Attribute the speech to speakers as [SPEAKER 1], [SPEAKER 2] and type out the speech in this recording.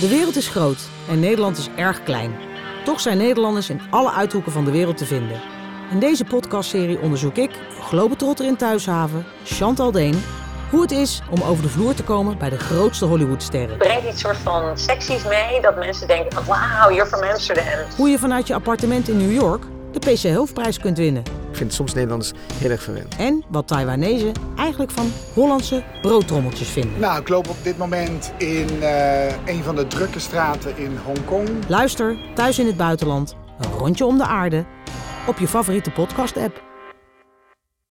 [SPEAKER 1] De wereld is groot en Nederland is erg klein. Toch zijn Nederlanders in alle uithoeken van de wereld te vinden. In deze podcastserie onderzoek ik, globetrotter in Thuishaven, Chantal Deen... hoe het is om over de vloer te komen bij de grootste Hollywoodsterren.
[SPEAKER 2] Breng iets soort van seksies mee, dat mensen denken van wauw, you're from Amsterdam.
[SPEAKER 1] Hoe je vanuit je appartement in New York de PC Hoofdprijs kunt winnen.
[SPEAKER 3] Ik vind soms Nederlanders heel erg verwend.
[SPEAKER 1] En wat Taiwanese eigenlijk van Hollandse broodtrommeltjes vinden.
[SPEAKER 4] Nou, ik loop op dit moment in eh, een van de drukke straten in Hongkong.
[SPEAKER 1] Luister thuis in het buitenland, een rondje om de aarde, op je favoriete podcast-app.